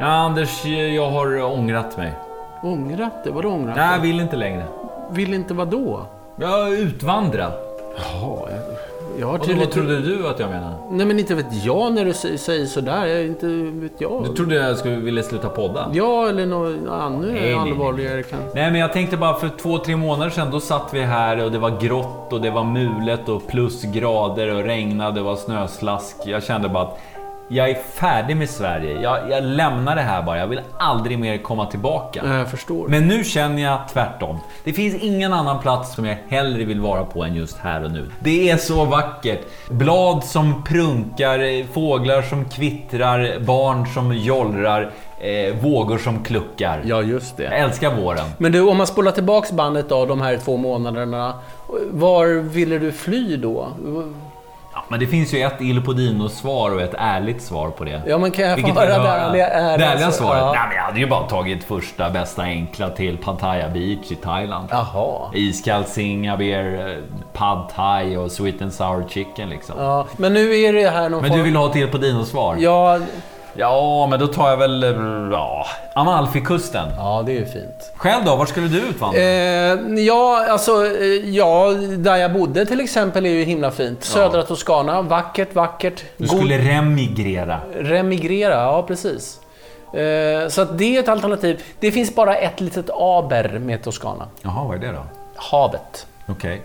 Ja, Anders, jag har ångrat mig. Ångrat det? Vadå ångrat? Nej, jag vill inte längre. Vill inte vadå? Jag har utvandrat. Jaha, jag, jag har Och då, vad tydligen... trodde du att jag menade? Nej men inte vet jag när du sä- säger sådär. Jag, inte vet jag. Du trodde jag skulle vilja sluta podda? Ja eller något ännu nej, allvarligare kanske. Nej, men jag tänkte bara för två, tre månader sedan, då satt vi här och det var grått och det var mulet och plusgrader och regnade och var snöslask. Jag kände bara att jag är färdig med Sverige. Jag, jag lämnar det här bara. Jag vill aldrig mer komma tillbaka. Nej, Jag förstår. Men nu känner jag tvärtom. Det finns ingen annan plats som jag hellre vill vara på än just här och nu. Det är så vackert. Blad som prunkar, eh, fåglar som kvittrar, barn som jollrar, eh, vågor som kluckar. Ja, just Jag det. älskar våren. Men du, om man spolar tillbaks bandet då, de här två månaderna. Var ville du fly då? Ja, men det finns ju ett Il Podino-svar och ett ärligt svar på det. Ja, men kan jag få Vilket höra vill du det höra? ärliga- ärliga Det ärliga svaret? svaret? Ja. Nej, men jag hade ju bara tagit första bästa enkla till Pattaya Beach i Thailand. Jaha. Iskall Singabeer, eh, Pad Thai och Sweet and Sour Chicken liksom. Ja, men nu är det här någon Men form... du vill ha till på dino svar? Ja, Ja, men då tar jag väl... eh, Ja, Amalfikusten. ja, det är ju fint. Själv då? Var skulle du utvandra? Eh, ja, alltså, eh, ja, där jag bodde till exempel är ju himla fint. Södra Toscana, vackert, vackert. du God- skulle remigrera. Remigrera, ja precis. Eh, så att det är ett alternativ. Det finns bara ett litet aber med Toscana. Jaha, vad är det då? Havet. Okej.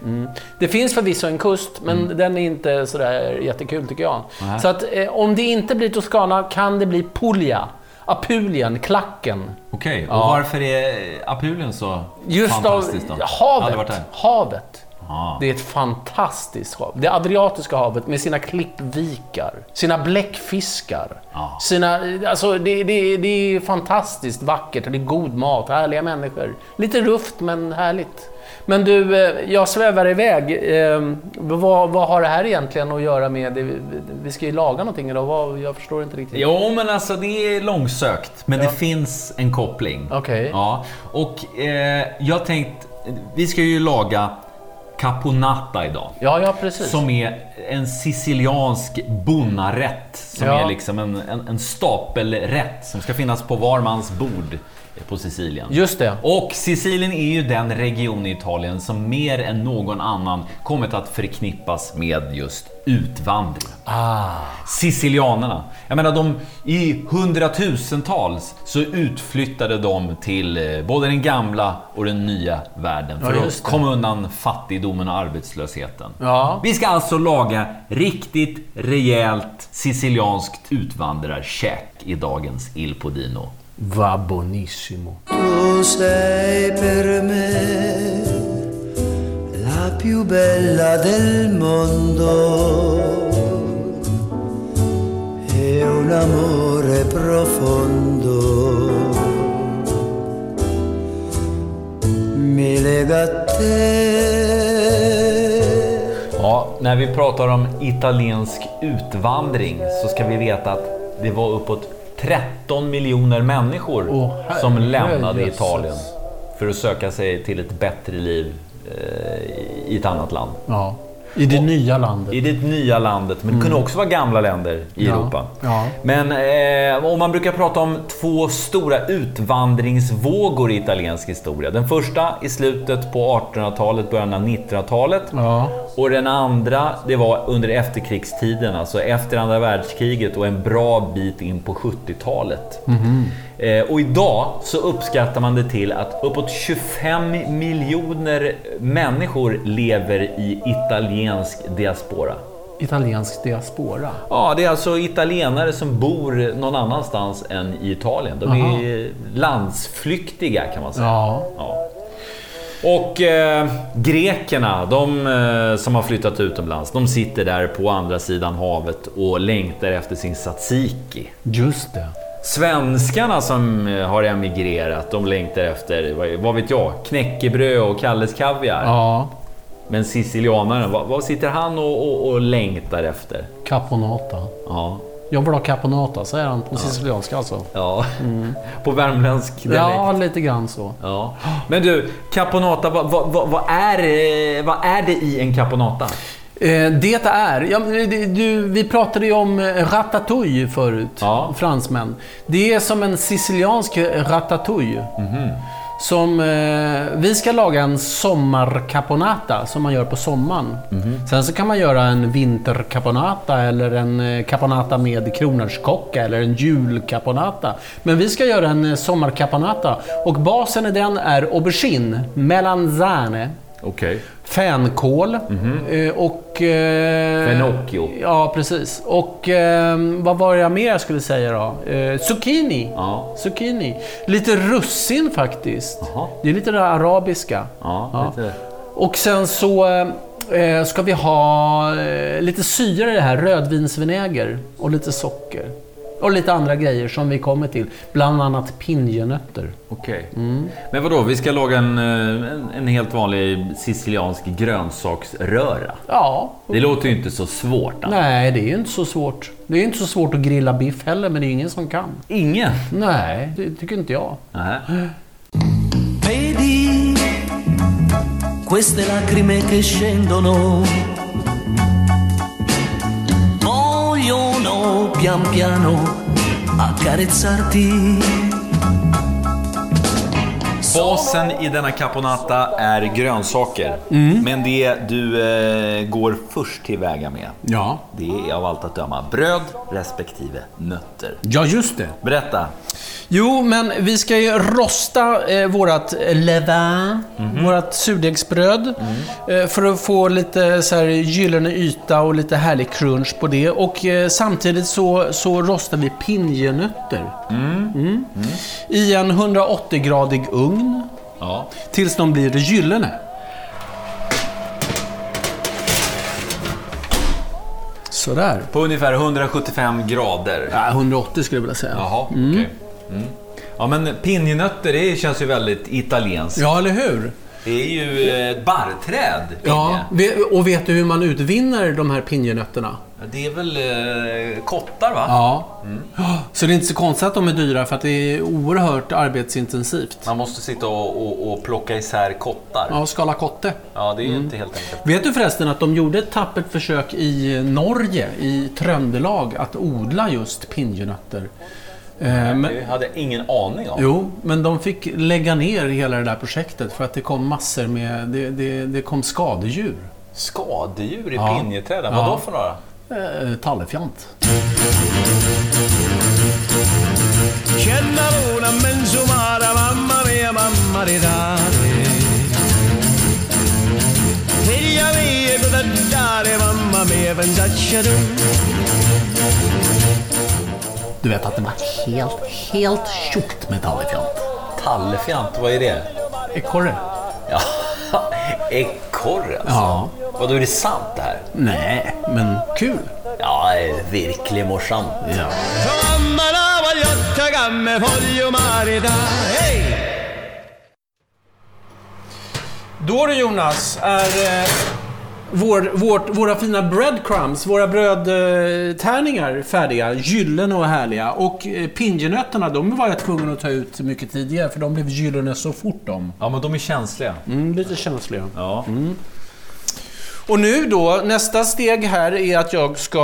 Det finns förvisso en kust, men den är inte sådär jättekul tycker jag. Mm. Nej. Så att eh, om det inte blir Toscana kan det bli Puglia. Apulien, klacken. Okej, och Ja. varför är Apulien så Just av fantastiskt då? Aldrig varit havet. där. Havet. Ja. Det är ett fantastiskt hav. Det Adriatiska havet med sina klippvikar, sina bläckfiskar. Ja. Sina, alltså det, det, det är fantastiskt vackert och det är god mat, härliga människor. Lite rufft men härligt. Men du, eh, jag svävar iväg. Eh, Vad, vad har det här egentligen att göra med... det vi- Vi ska ju laga någonting idag. Vad, jag förstår inte riktigt. Jo, men alltså det är långsökt. Men det finns en koppling. Okej. Ja, och eh, jag tänkt... Vi ska ju laga caponata idag. Ja, ja precis. Som är en siciliansk bonnarätt. Som Ja. är liksom en, en, en stapelrätt som ska finnas på var mans bord på Sicilien. Just det. Och Sicilien är ju den region i Italien som mer än någon annan kommit att förknippas med just utvandring. Ah. Sicilianerna. Jag menar, de, i hundratusentals så utflyttade de till eh, både den gamla och den nya världen för Ja, att just det. komma undan fattigdomen och arbetslösheten. Ja. Vi ska alltså laga riktigt rejält sicilianskt utvandrarkäk i dagens Il Podino. Va bonissimo. Tu sei per me la più bella del mondo e un amore profondo mi lega a te. Ja, när vi pratar om italiensk utvandring så ska vi veta att det var uppåt 13 miljoner människor Åh, som herre lämnade jösses. Italien för att söka sig till ett bättre liv eh, i ett annat land. Ja. I det nya landet. Mm. I det nya landet, men det kunde också vara gamla länder i Ja, Europa. ja. Men eh, om man brukar prata om två stora utvandringsvågor i italiensk historia. Den första i slutet på 1800-talet, början av 1900-talet. Ja. Och den andra, det var under efterkrigstiden, alltså efter andra världskriget och en bra bit in på 70-talet. Eh, och idag så uppskattar man det till att uppåt 25 miljoner människor lever i italiensk diaspora. Italiensk diaspora. Ja, det är alltså italienare som bor någon annanstans än i Italien. De är landsflyktiga kan man säga. Ja. Ja. Och eh, grekerna, de eh, som har flyttat utomlands, de sitter där på andra sidan havet och längtar efter sin tzatziki. Just det. Svenskarna som eh, har emigrerat, de längtar efter, vad- vad vet jag, knäckebröd och Kalles Kaviar. Ja, Men sicilianaren, vad, vad sitter han och, och, och längtar efter? caponata. Ja, Jag vill ha caponata, säger han på sicilianska alltså. ja. på värmländsk dialekt. Ja, lite grann så. Ja. Men du, caponata, vad, vad, vad, vad, är, eh, vad är det i en caponata? Eh, Det är, ja, men det- du, vi pratade ju om eh, ratatouille förut, Ja. fransmän. Det är som en siciliansk eh, ratatouille. Som, eh, vi ska laga en sommarcaponata som man gör på sommaren. Sen så kan man göra en vintercaponata eller en eh, caponata med kronärtskocka eller en julcaponata. Men vi ska göra en eh, sommarcaponata och basen i den är aubergine, melanzane, Okej. Fänkål eh, och... eh, Mhm. Fenocchio. Ja, precis. Och eh, vad var jag mer jag skulle säga då? Eh, Zucchini. Ja. Zucchini. Lite russin faktiskt. Jaha. Det är lite det arabiska. Ja, lite. Och sen så eh, ska vi ha eh, lite syra i det här. Rödvinsvinäger och lite socker. Och lite andra grejer som vi kommer till. Bland annat pinjenötter. Okej. Mm. Men vadå, vi ska laga en, eh, en, en helt vanlig siciliansk grönsaksröra. Ja, Det låter ju inte så svårt. Alltså. Nej, det är ju inte så svårt. Det är inte så svårt att grilla biff heller, men det är ju ingen som kan. Ingen? Nej, det tycker inte jag. Nej. Vedi queste lacrime che scendono, vogliono pian piano accarezzarti. Basen i denna caponata är grönsaker. Men det du eh, går först tillväga med, Ja. det är av allt att döma bröd respektive nötter. Ja, just det. Berätta. Jo, men vi ska ju rosta eh, vårat levain, vårat surdegsbröd, eh, för att få lite så här gyllene yta och lite härlig crunch på det. Och eh, samtidigt så, så rostar vi pinjenötter Mm. i en 180-gradig ugn Ja. tills de blir gyllene. Sådär. På ungefär 175 grader. Ja, 180 skulle jag vilja säga. Jaha, okej. Mm. Ja, men pinjenötter det känns ju väldigt italienskt. Ja, eller hur? Det är ju eh, ett barrträd. pinje. Ja, ve- och vet du hur man utvinner de här pinjenötterna? Det är väl eh, kottar, va? Mm. Ja. Så det är inte så konstigt att de är dyra för att det är oerhört arbetsintensivt. Man måste sitta och, och, och plocka isär kottar. Ja, Mm. Ja, skala kotte. det är ju inte helt enkelt. Vet du förresten att de gjorde ett tappert försök i Norge, i Tröndelag, att odla just pinjenötter? Eh, men- Det hade jag ingen aning om. Jo, men de fick lägga ner hela det där projektet för att det kom massor med... Det, det, det kom skadedjur. Skadedjur i Ja. pinjeträden, Ja. vadå för några? Eh, tallefjant. Känner hon en mensomara, mamma mia, mamma di dare Vilja vi gå där, mamma mia, pensaccia du Du vet att det var helt, helt tjockt med tallefjant. Tallefjant, vad är det? Ekorre? Ja. Ekorre alltså. Ja. Vadå, är det sant det här? Nej, men kul. Ja, det är verkligen morsamt. Ja. Mamma la voglio attaccare, voglio maritare hey! Då du Jonas, är eh, vår, vårt, våra fina breadcrumbs, våra brödtärningar färdiga. Gyllene och härliga. Och eh, pinjenötterna, de var jag tvungen att ta ut mycket tidigare för de blev gyllene så fort de. Ja, men de är känsliga. Mm, lite Mm. känsliga. Ja. Och nu då, nästa steg här är att jag ska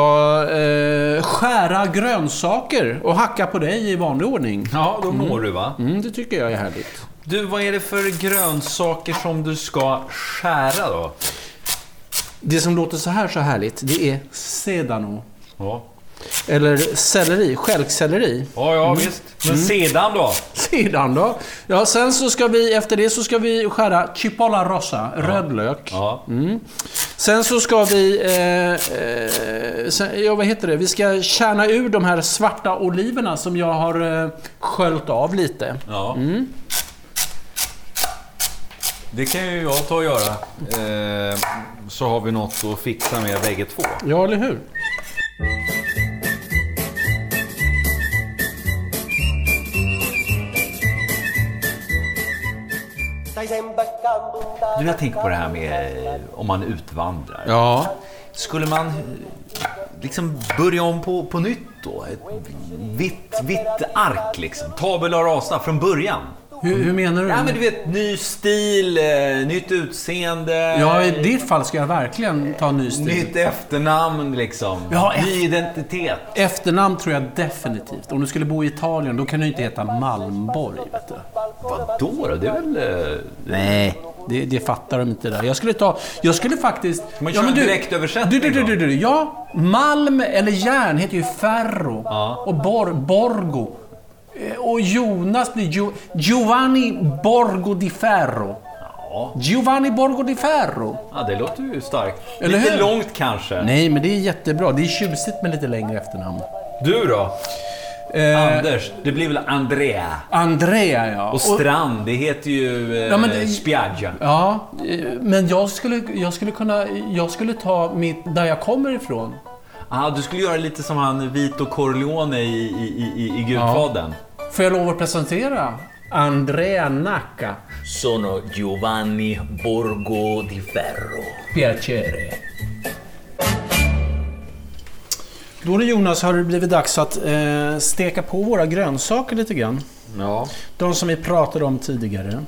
eh, skära grönsaker och hacka på dig i vanlig ordning. ja, då mår du va? Mm, det tycker jag är härligt. Du, vad är det för grönsaker som du ska skära då? Det som låter så här så härligt, det är sedano. Ja, Eller selleri, stjälkselleri. ja, ja visst. Men Mm. sedan då? Sedan då? Ja, sen så ska vi, efter det så ska vi skära chipola rosa, rödlök. Ja. Mm. Sen så ska vi, eh, eh, sen, ja vad heter det, vi ska kärna ur de här svarta oliverna som jag har eh, sköljt av lite. ja. Det kan ju jag ta och göra. Eh, så har vi något att fixa med bägge två. Ja, eller hur? Du, jag tänker på det här med eh, om man utvandrar. Ja. Skulle man eh, liksom börja om på, på nytt då? Ett vitt, vitt ark liksom. Tabula rasa från början. Hur, hur menar du? Ja, men du vet, ny stil, eh, nytt utseende. Ja, i ditt fall ska jag verkligen ta en ny stil. Nytt efternamn liksom. Ja, eft- Ny identitet. Efternamn tror jag definitivt. Om du skulle bo i Italien, då kan du inte heta Malmborg. Vet du. Vadå då? Det är väl... eh, Nej. Det, det fattar de inte där. Jag skulle ta... Jag skulle faktiskt... man köra en direktöversättning du, du, då? du, du, du, Ja, malm eller järn heter ju ferro. Ja. Och bor, borgo. Eh, Och Jonas blir Gio, Giovanni Borgo di Ferro. Ja. Giovanni Borgo di Ferro. ja, det låter ju starkt. Eller Lite hur? långt kanske. Nej, men det är jättebra. Det är tjusigt med lite längre efternamn. Du då? Eh, Anders. Det blir väl Andrea? Andrea, ja. Och Strand, det heter ju eh, Ja, men det- Spiaggia. Ja, eh, men jag skulle, jag skulle kunna... Jag skulle ta mitt... Där jag kommer ifrån. Ah, du skulle göra lite som han Vito Corleone i, i, i- i, i Gudfadern. Får jag lov att presentera? Andrea Nacca. Sono Giovanni Borgo di Ferro. Piacere. Då det Jonas har det blivit dags att eh, steka på våra grönsaker lite grann. Ja. De som vi pratade om tidigare.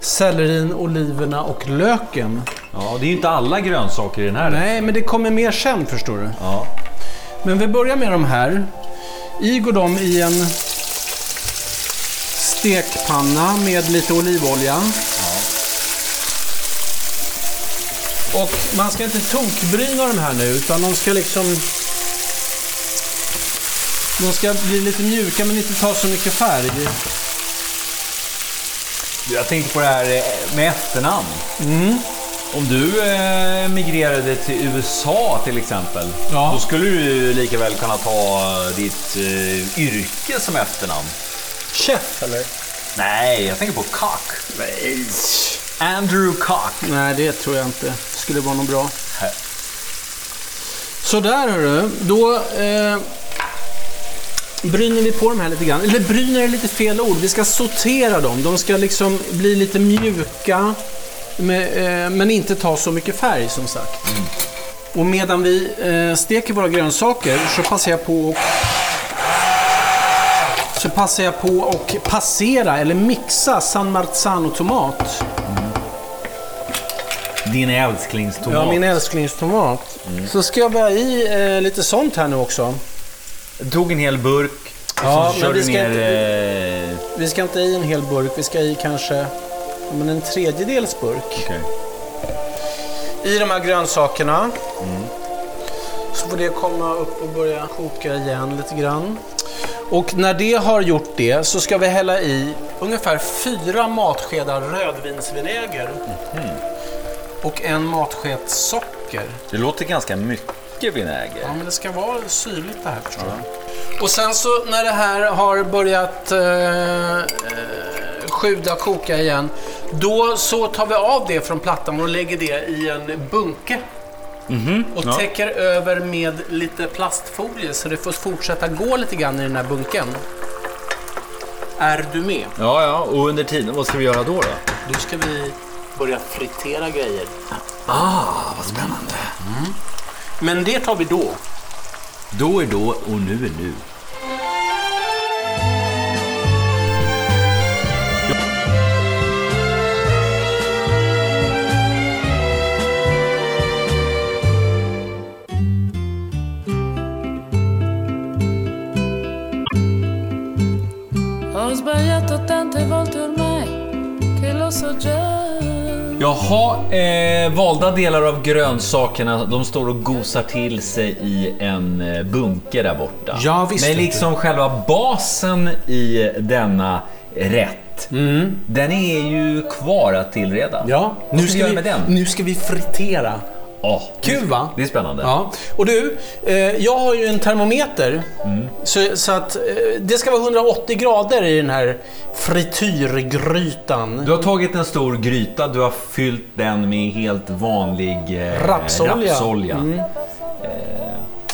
Sellerin, oliverna och löken. ja. Det är ju inte alla grönsaker i den här. Nej, men det kommer mer sen förstår du. Ja. Men vi börjar med de här. I går de i en stekpanna med lite olivolja. Och man ska inte tokbryna de här nu, utan de ska liksom... De ska bli lite mjuka men inte ta så mycket färg. Jag tänkte på det här eh, med efternamn. Mm. Om du eh, migrerade till USA till exempel, Ja. då skulle du ju lika väl kunna ta ditt eh, yrke som efternamn. Chef eller? Nej, jag tänker på Cock. Andrew Cock. Nej, det tror jag inte skulle vara något bra. Här. Sådär hörru, då eh, bryner vi på de här lite grann. Eller bryner är lite fel ord, vi ska sortera dem. De ska liksom bli lite mjuka, med, eh, men inte ta så mycket färg som sagt. Och medan vi eh, steker våra grönsaker så passar jag på och så passar jag på och passera eller mixa San Marzano-tomat. Din älsklingstomat. Ja, min älsklingstomat. Så ska jag börja i eh, lite sånt här nu också. Tog en hel burk. Ja, och så men kör vi du ska ner... Eh... Vi ska inte i en hel burk, vi ska i kanske ja, men en tredjedels burk. okej. I de här grönsakerna. Så får det komma upp och börja koka igen lite grann. Och när det har gjort det så ska vi hälla i ungefär fyra matskedar rödvinsvinäger. Och en matsked socker. Det låter ganska mycket vinäger. Ja, men det ska vara syrligt det här förstår du. Och sen så när det här har börjat eh, eh, sjuda och koka igen, då så tar vi av det från plattan och lägger det i en bunke. och ja. täcker över med lite plastfolie så det får fortsätta gå lite grann i den här bunken. Är du med? Ja, ja. Och under tiden, vad ska vi göra då? då? Då ska vi börja fritera grejer. Mm. Ah, vad spännande. Men det tar vi då. Då är då och nu är nu. Ho sbagliato tante volte ormai che lo so già. Jaha, eh, valda delar av grönsakerna de står och gosar till sig i en eh, bunke där borta. Ja, visst Men vet du. liksom själva basen i denna rätt, den är ju kvar att tillreda. Vad ska vi göra med den? nu ska vi fritera. Ja, Kul, va? Det är spännande. Ja, och du, eh, jag har ju en termometer. Mm. Så, så att eh, det ska vara 180 grader i den här frityrgrytan. Du har tagit en stor gryta, du har fyllt den med helt vanlig eh, Rapsolja. Mm. rapsolja. Eh,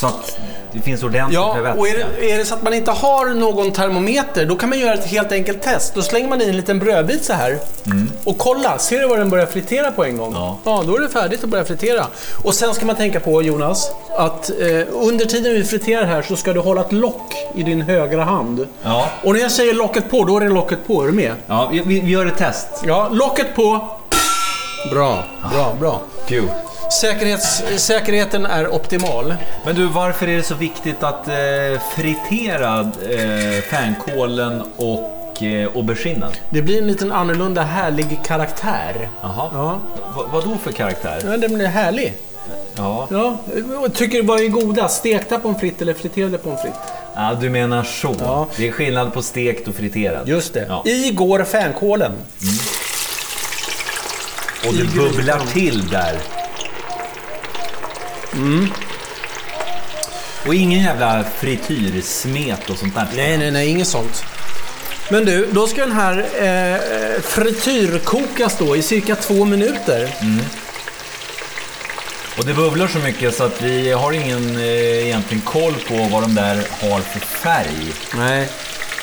så att Det finns ordentligt Ja, med vätska. och är det, är det så att man inte har någon termometer, då kan man göra ett helt enkelt test. Då slänger man i en liten brödbit så här och kolla, ser du vad den börjar fritera på en gång? Mm. Ja. då är det färdigt att börja fritera. Och sen ska man tänka på, Jonas, att eh, under tiden vi friterar här så ska du hålla ett lock i din högra hand. Ja. Och när jag säger locket på, då är det locket på. Är du med? Ja, vi, vi vi gör ett test. Ja, locket på. Bra, bra, bra. Kul. Säkerhets, säkerheten är optimal. Men du, varför är det så viktigt att eh, fritera eh, fänkålen och eh, auberginen? Det blir en liten annorlunda härlig karaktär. Jaha. Ja. Va, vad då för karaktär? Ja, den blir härlig. Ja. Ja, jag tycker vad är godast? Stekta pommes frites eller friterade pommes frites? ja, du menar så. Ja. Det är skillnad på stekt och friterad. Just det. Ja. I går fänkålen. Och det bubblar till där. Mm. Och ingen jävla frityrsmet och sånt där. Nej, nej, nej, inget sånt. Men du, då ska den här eh, frityrkokas då i cirka två minuter. Och det bubblar så mycket så att vi har ingen eh, egentligen koll på vad de där har för färg. Nej. Mm.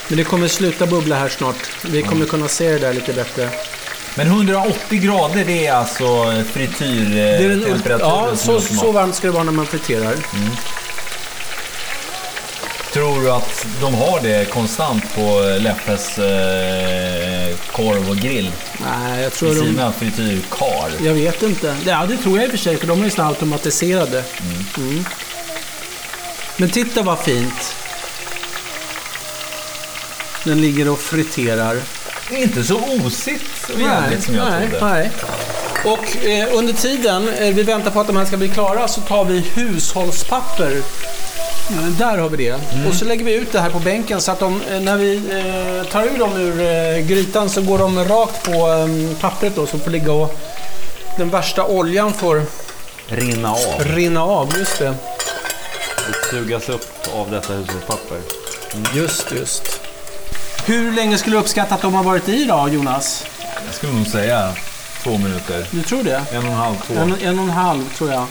Men det kommer sluta bubbla här snart. Vi kommer kunna se det där lite bättre. Men 180 grader det är alltså Det är den ult- frityrtemperaturen ja, så, Äh, som så varmt ska det vara när man friterar. Tror du att de har det konstant på eh, Leffes eh, korv och grill? Nej, jag I tror de... sina frityrkar? Jag vet inte. Ja, det tror jag i och för sig, för de är ju såna automatiserade. Mm. Men titta vad fint. Den ligger och friterar. Inte så osigt och jävligt som jag nej, trodde. nej. Och eh, under tiden eh, vi väntar på att de här ska bli klara så tar vi hushållspapper. Ja, men där har vi det. Och så lägger vi ut det här på bänken så att de, eh, när vi eh, tar ur dem ur eh, grytan så går de rakt på eh, pappret då som får ligga och den värsta oljan får Rinna av. rinna av. Just det. Sugas upp av detta hushållspapper. Just, just. Hur länge skulle du uppskatta att de har varit i då, Jonas? Jag skulle nog säga två minuter. Du tror det? En och en halv, två. En, en och en halv tror jag.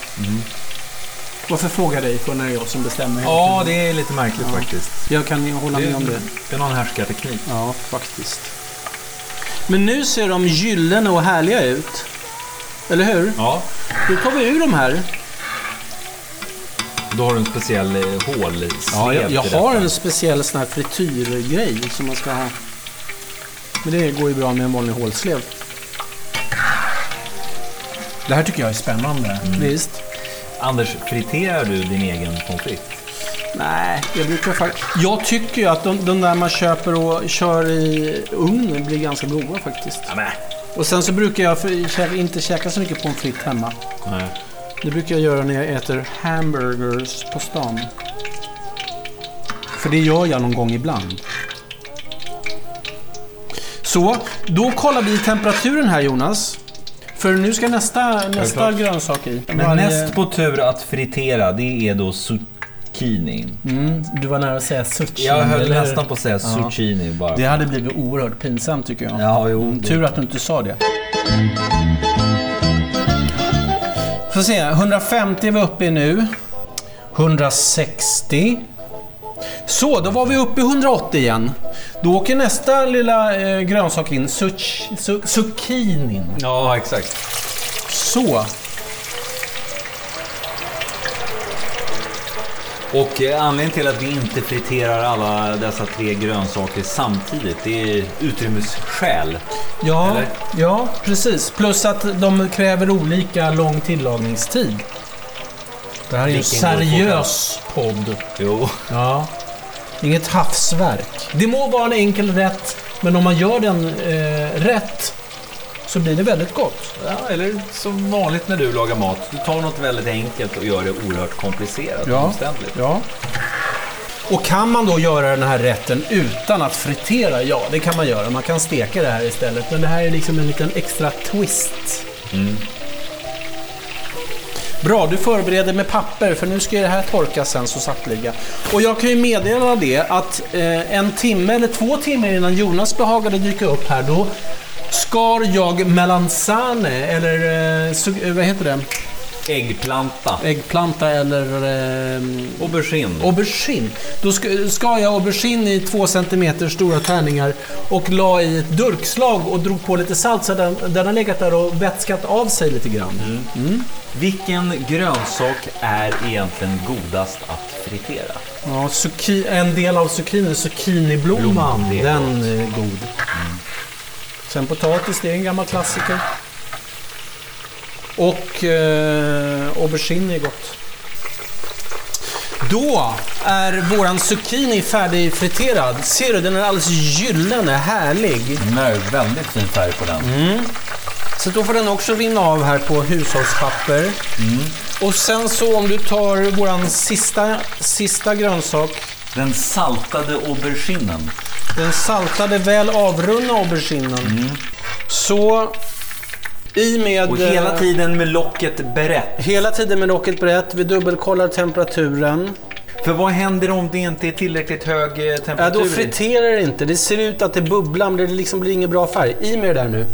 Varför fråga dig för när det är jag som bestämmer? Ja, det är lite märkligt faktiskt. Jag kan ju hålla med om det. det är någon härskarteknik. Ja, faktiskt. Men nu ser de gyllene och härliga ut. Eller hur? Ja, Då tar vi ur de här. då har du en speciell eh, hålslev jag, jag i detta. har en speciell sån här frityrgrej som man ska ha. Men det går ju bra med en vanlig hålslev. Det här tycker jag är spännande. Visst? Anders, friterar du din egen pommes frites? Nej, jag brukar faktiskt... Jag tycker ju att de, de där man köper och kör i ugnen blir ganska goda faktiskt. Nej. Och sen så brukar jag för, käka, inte käka så mycket pommes frites hemma. Det brukar jag göra när jag äter hamburgers på stan. För det gör jag någon gång ibland. Så, då kollar vi temperaturen här Jonas. För nu ska nästa, nästa grönsak i. Men Varje- näst på tur att fritera, det är då zucchini. Mm, du var nära att säga sushi. Jag höll eller? nästan på att säga zucchini bara. Det hade blivit oerhört pinsamt tycker jag. Ja, jo. Mm, Tur att du inte sa det. Får se, 150 är vi uppe i nu. 160. Så, då var vi uppe i 180 igen. Då åker nästa lilla eh, grönsak in, Zuc- zu- zucchinin. Ja, exakt. Så, Och eh, anledningen till att vi inte friterar alla dessa tre grönsaker samtidigt, det är utrymmesskäl. ja, Eller? ja precis. Plus att de kräver olika lång tillagningstid. Det här är ju en Vilken går fortare? seriös podd. Jo. Ja. Inget havsverk. Det må vara en enkel rätt, men om man gör den eh, rätt så blir det väldigt gott. Ja, eller som vanligt när du lagar mat, du tar något väldigt enkelt och gör det oerhört komplicerat och omständligt. ja. Och kan man då göra den här rätten utan att fritera? Ja, det kan man göra. Man kan steka det här istället. Men det här är liksom en liten extra twist. Bra, du förbereder med papper för nu ska ju det här torkas sen så sakteliga. Och jag kan ju meddela det att eh, en timme eller två timmar innan Jonas behagade dyka upp här då skar jag melanzane eller eh, su- eh, vad heter det? Äggplanta. Äggplanta eller ehm, Aubergine. aubergine. Då ska, ska jag aubergine i två centimeter stora tärningar och la i ett durkslag och drog på lite salt så den, den har legat där och vätskat av sig lite grann. Vilken grönsak är egentligen godast att fritera? Ja, zucchi- en del av zucchini, zucchiniblomman, Blomman, det är den är god. Sen potatis, det är en gammal klassiker. Och eh, aubergine är gott. Då är våran zucchini färdigfriterad. Ser du, den är alldeles gyllene, härlig. Nej, väldigt fin färg på den. Så då får den också rinna av här på hushållspapper. Och sen så om du tar våran sista, sista grönsak Den saltade auberginen. Den saltade, väl avrunna auberginen. Så i med... Mm. eh, Och hela tiden med locket berett. hela tiden med locket brett. Vi dubbelkollar temperaturen. För vad händer om det inte är tillräckligt hög eh, temperatur? Ja, då friterar det inte. Det ser ut att det bubblar, men det liksom blir ingen bra färg. I med det där nu.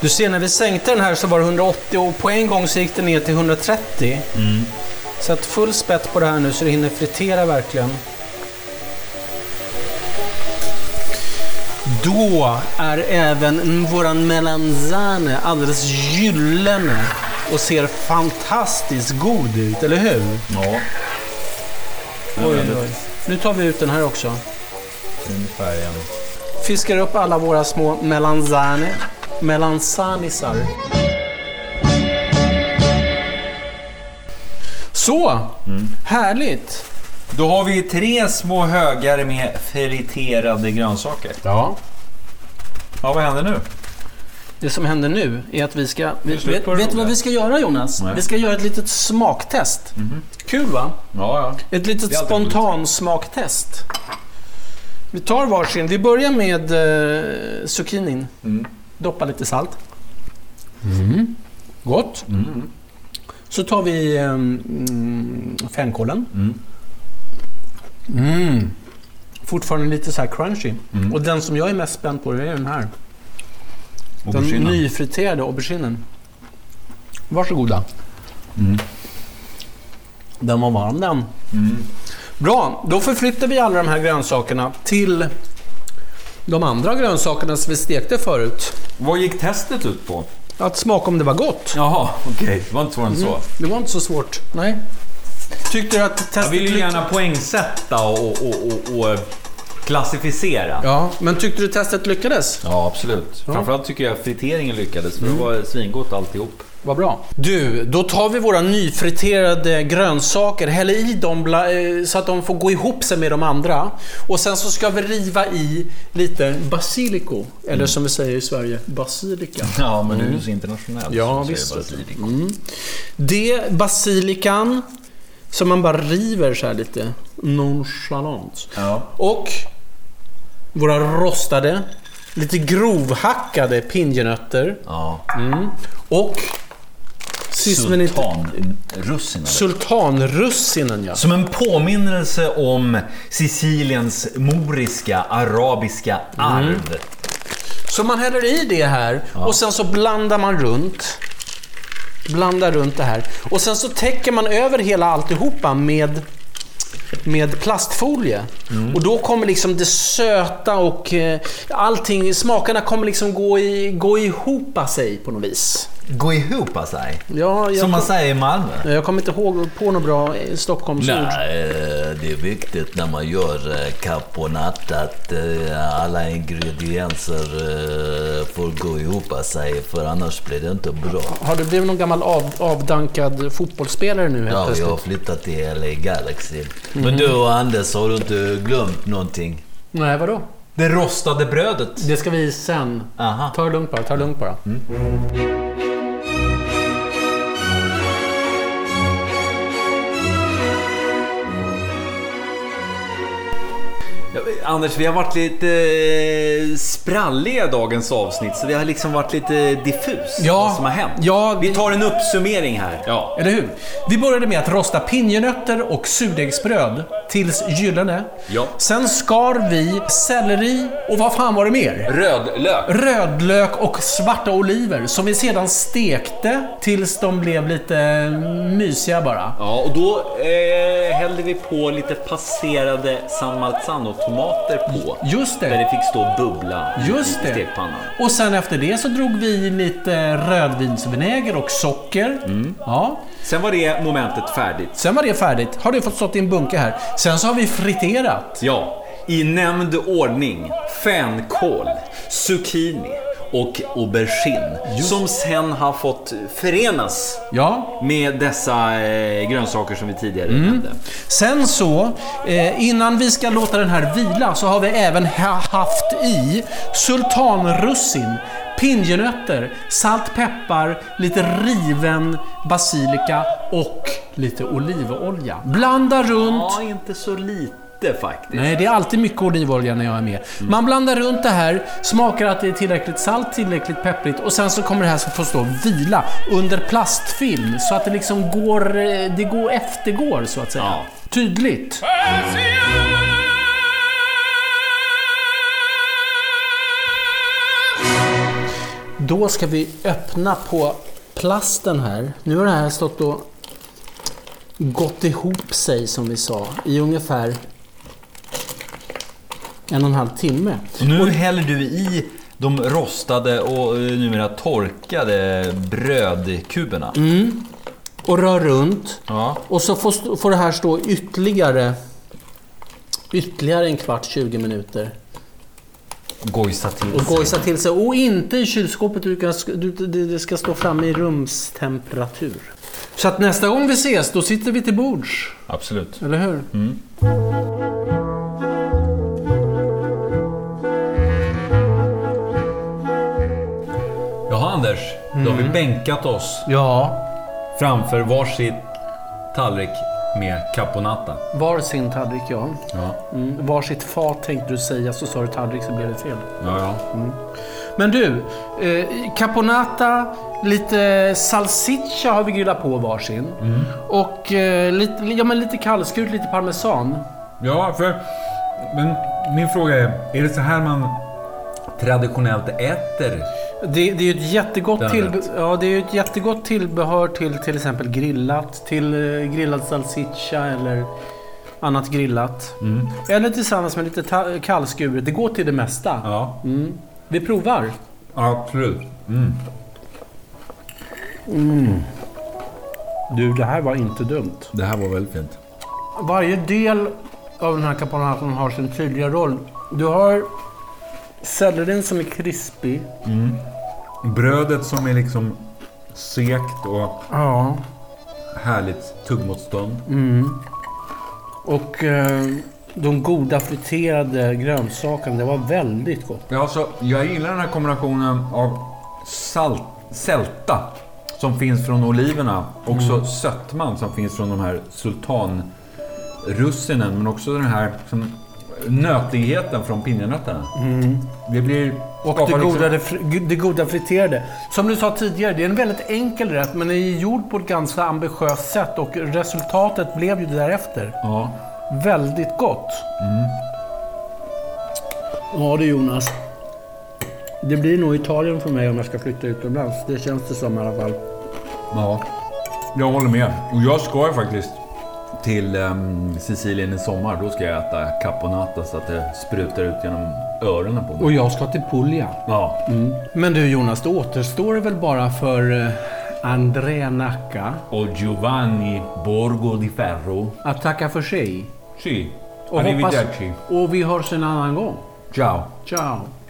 Du ser, när vi sänkte den här så var det 180 och på en gång så gick det ner till 130. Så att full spett på det här nu så det hinner fritera verkligen. Då är även våran melanzane alldeles gyllene och ser fantastiskt god ut, eller hur? Ja, Nu tar vi ut den här också. fin färgen. Fiskar upp alla våra små melanzane, melanzanisar. Så! Mm. Härligt! Då har vi tre små högar med friterade grönsaker. Ja. Ja, vad händer nu? Det som händer nu är att vi ska... Vi, slut vet på det vet du roliga. vad vi ska göra Jonas? Nej. Mhm. Vi ska göra ett litet smaktest. Kul va? Ja, ja. Ett Det litet är alltid roligt. spontansmaktest. Vi tar varsin. Vi börjar med eh, zucchinin. Mm. Doppa lite salt. Mm. Gott. Mm. Så tar vi eh, mm, fänkålen. Mm. Fortfarande lite så här crunchy. Mm. Och den som jag är mest spänd på det är den här. Den Auberginen. nyfriterade auberginen. Varsågoda. Mm. Den var varm den. Bra, då förflyttar vi alla de här grönsakerna till de andra grönsakerna som vi stekte förut. Vad gick testet ut på? Att smaka om det var gott. Jaha, okej. Det var inte svårare än så. Det var inte så svårt. Nej. Tyckte du att testet... Jag vill ju lyck- gärna poängsätta och, och, och, och, och klassificera. Ja, men tyckte du testet lyckades? Ja, Mm. absolut. Framförallt tycker jag friteringen lyckades, för det var svingott alltihop. Vad bra. Du, då tar vi våra nyfriterade grönsaker, häller i dem bla- eh, så att de får gå ihop sig med de andra. Och sen så ska vi riva i lite basilico, eller som vi säger i Sverige, basilika. Ja, men Mm. du är ju så internationell. så Ja, säger visst. bara Sidik. Mm. Det, basilikan, som man bara river så här lite nonchalant. Ja. Och våra rostade, lite grovhackade pinjenötter. ja. Och sist men inte... Sultanrussinen. Sultanrussinen ja. Som en påminnelse om Siciliens moriska, arabiska arv. Mm. Så man häller i det här och sen så blandar man runt. Blandar runt det här. Och sen så täcker man över hela alltihopa med, med plastfolie. Och då kommer liksom det söta och eh, allting, smakerna kommer liksom gå, i, gå ihop sig på något vis. Gå ihop alltså. Ja, jag, Som man säger i Malmö. Ja, jag kommer inte ihåg på något bra eh, Stockholmsord. Nej, det är viktigt när man gör eh, caponat att eh, alla ingredienser eh, får gå ihop sig för annars blir det inte bra. Har du blivit någon gammal av, avdankad fotbollsspelare nu helt Ja, Mm. vi plötsligt? har flyttat till LA Galaxy. Men du Anders, har du inte glömt någonting? Nej, vadå? Det rostade brödet. Det ska vi i sen. Aha. Mm. Ta det lugnt bara, ta det lugnt bara. Ja, Anders, vi har varit lite eh, spralliga i dagens avsnitt, så det har liksom varit lite diffus Ja. vad som har hänt. Ja, vi tar en uppsummering här. Ja. Eller hur? Vi började med att rosta pinjenötter och surdegsbröd tills gyllene. Ja. Sen skar vi selleri och vad fan var det mer? Rödlök. Rödlök och svarta oliver som vi sedan stekte tills de blev lite mysiga bara. Ja, och då eh, hällde vi på lite passerade San Marzano-tomater på. Just Där det det. fick stå och bubbla i- Just i det. stekpannan. Och sen efter det så drog vi lite rödvinsvinäger och socker. Ja. Sen var det momentet färdigt. Sen var det färdigt. Har det fått stått i en bunke här. Sen så har vi friterat. Ja, i nämnd ordning fänkål, zucchini och aubergine som sen har fått förenas Ja. med dessa eh, grönsaker som vi tidigare nämnde. Sen så, eh, innan vi ska låta den här vila så har vi även ha- haft i sultanrussin, pinjenötter, salt, peppar, lite riven basilika och lite olivolja. Blanda runt. Ja, inte så lite faktiskt. Nej, det är alltid mycket olivolja när jag är med. Man blandar runt det här, smakar att det är tillräckligt salt, tillräckligt pepprigt och sen så kommer det här att få stå och vila under plastfilm så att det liksom går, eh, det går eftergår så att säga. Ja. Tydligt. Då ska vi öppna på plasten här. Nu har det här stått och gått ihop sig som vi sa i ungefär en och en halv timme. Nu häller du i de rostade och eh, numera torkade brödkuberna. Mm. Och rör runt. Ja. Och så får, st- får det här stå ytterligare, ytterligare en kvart, 20 minuter. Gojsa till Och sig. gojsa till sig. Och inte i kylskåpet, du kan, du, det, det ska stå framme i rumstemperatur. Så att nästa gång vi ses, då sitter vi till bords. Absolut. Eller hur? Jaha Anders, Mm. då har vi bänkat oss Ja, framför varsitt tallrik med caponata. Var sin tallrik, ja. Ja, Mm. Var sitt fat tänkte du säga, så sa du tallrik så blev det fel. ja, ja. Mm. Men du, eh, caponata, lite salsiccia har vi grillat på varsin. Mm. Och eh, lite, ja, men lite kallskuret, lite parmesan. Ja, för... Men min fråga är, är det så här man traditionellt äter? Det, det är ju ett jättegott, Den tillbe- rätt. ja, det är ju ett jättegott tillbehör till till exempel grillat. Till eh, grillad salsiccia eller annat grillat. Mm. Eller tillsammans med lite ta- kallskuret. Det går till det mesta. Ja, Vi provar. absolut. Mm. Mm. Du, det här var inte dumt. Det här var väldigt fint. Varje del av den här caponatan har sin tydliga roll. Du har sellerin som är krispig. Brödet som är liksom sekt och Ja. härligt tuggmotstånd. Och eh, de goda friterade grönsakerna, det var väldigt gott. Ja, så jag gillar den här kombinationen av salt, sälta som finns från oliverna och Mm. så sötman som finns från de här sultanrussinen men också den här liksom, nötigheten från pinjenötterna. Det blir... Och det skapar goda, det, fri- det goda friterade. Som du sa tidigare, det är en väldigt enkel rätt men den är gjord på ett ganska ambitiöst sätt och resultatet blev ju därefter. Ja. Väldigt gott. Mm. Ja du Jonas. Det blir nog Italien för mig om jag ska flytta utomlands. Det känns det som i alla fall. ja, jag håller med. Och jag ska ju faktiskt till ehm, Sicilien i sommar. Då ska jag äta caponata så att det sprutar ut genom öronen på mig. Och jag ska till Puglia. Ja. Men du Jonas, det återstår väl bara för eh, André Nacka Och Giovanni Borgo di Ferro. att tacka för sig. Sì. Och, hoppas, Arrivederci. och vi hörs en annan gång. Ciao. Ciao!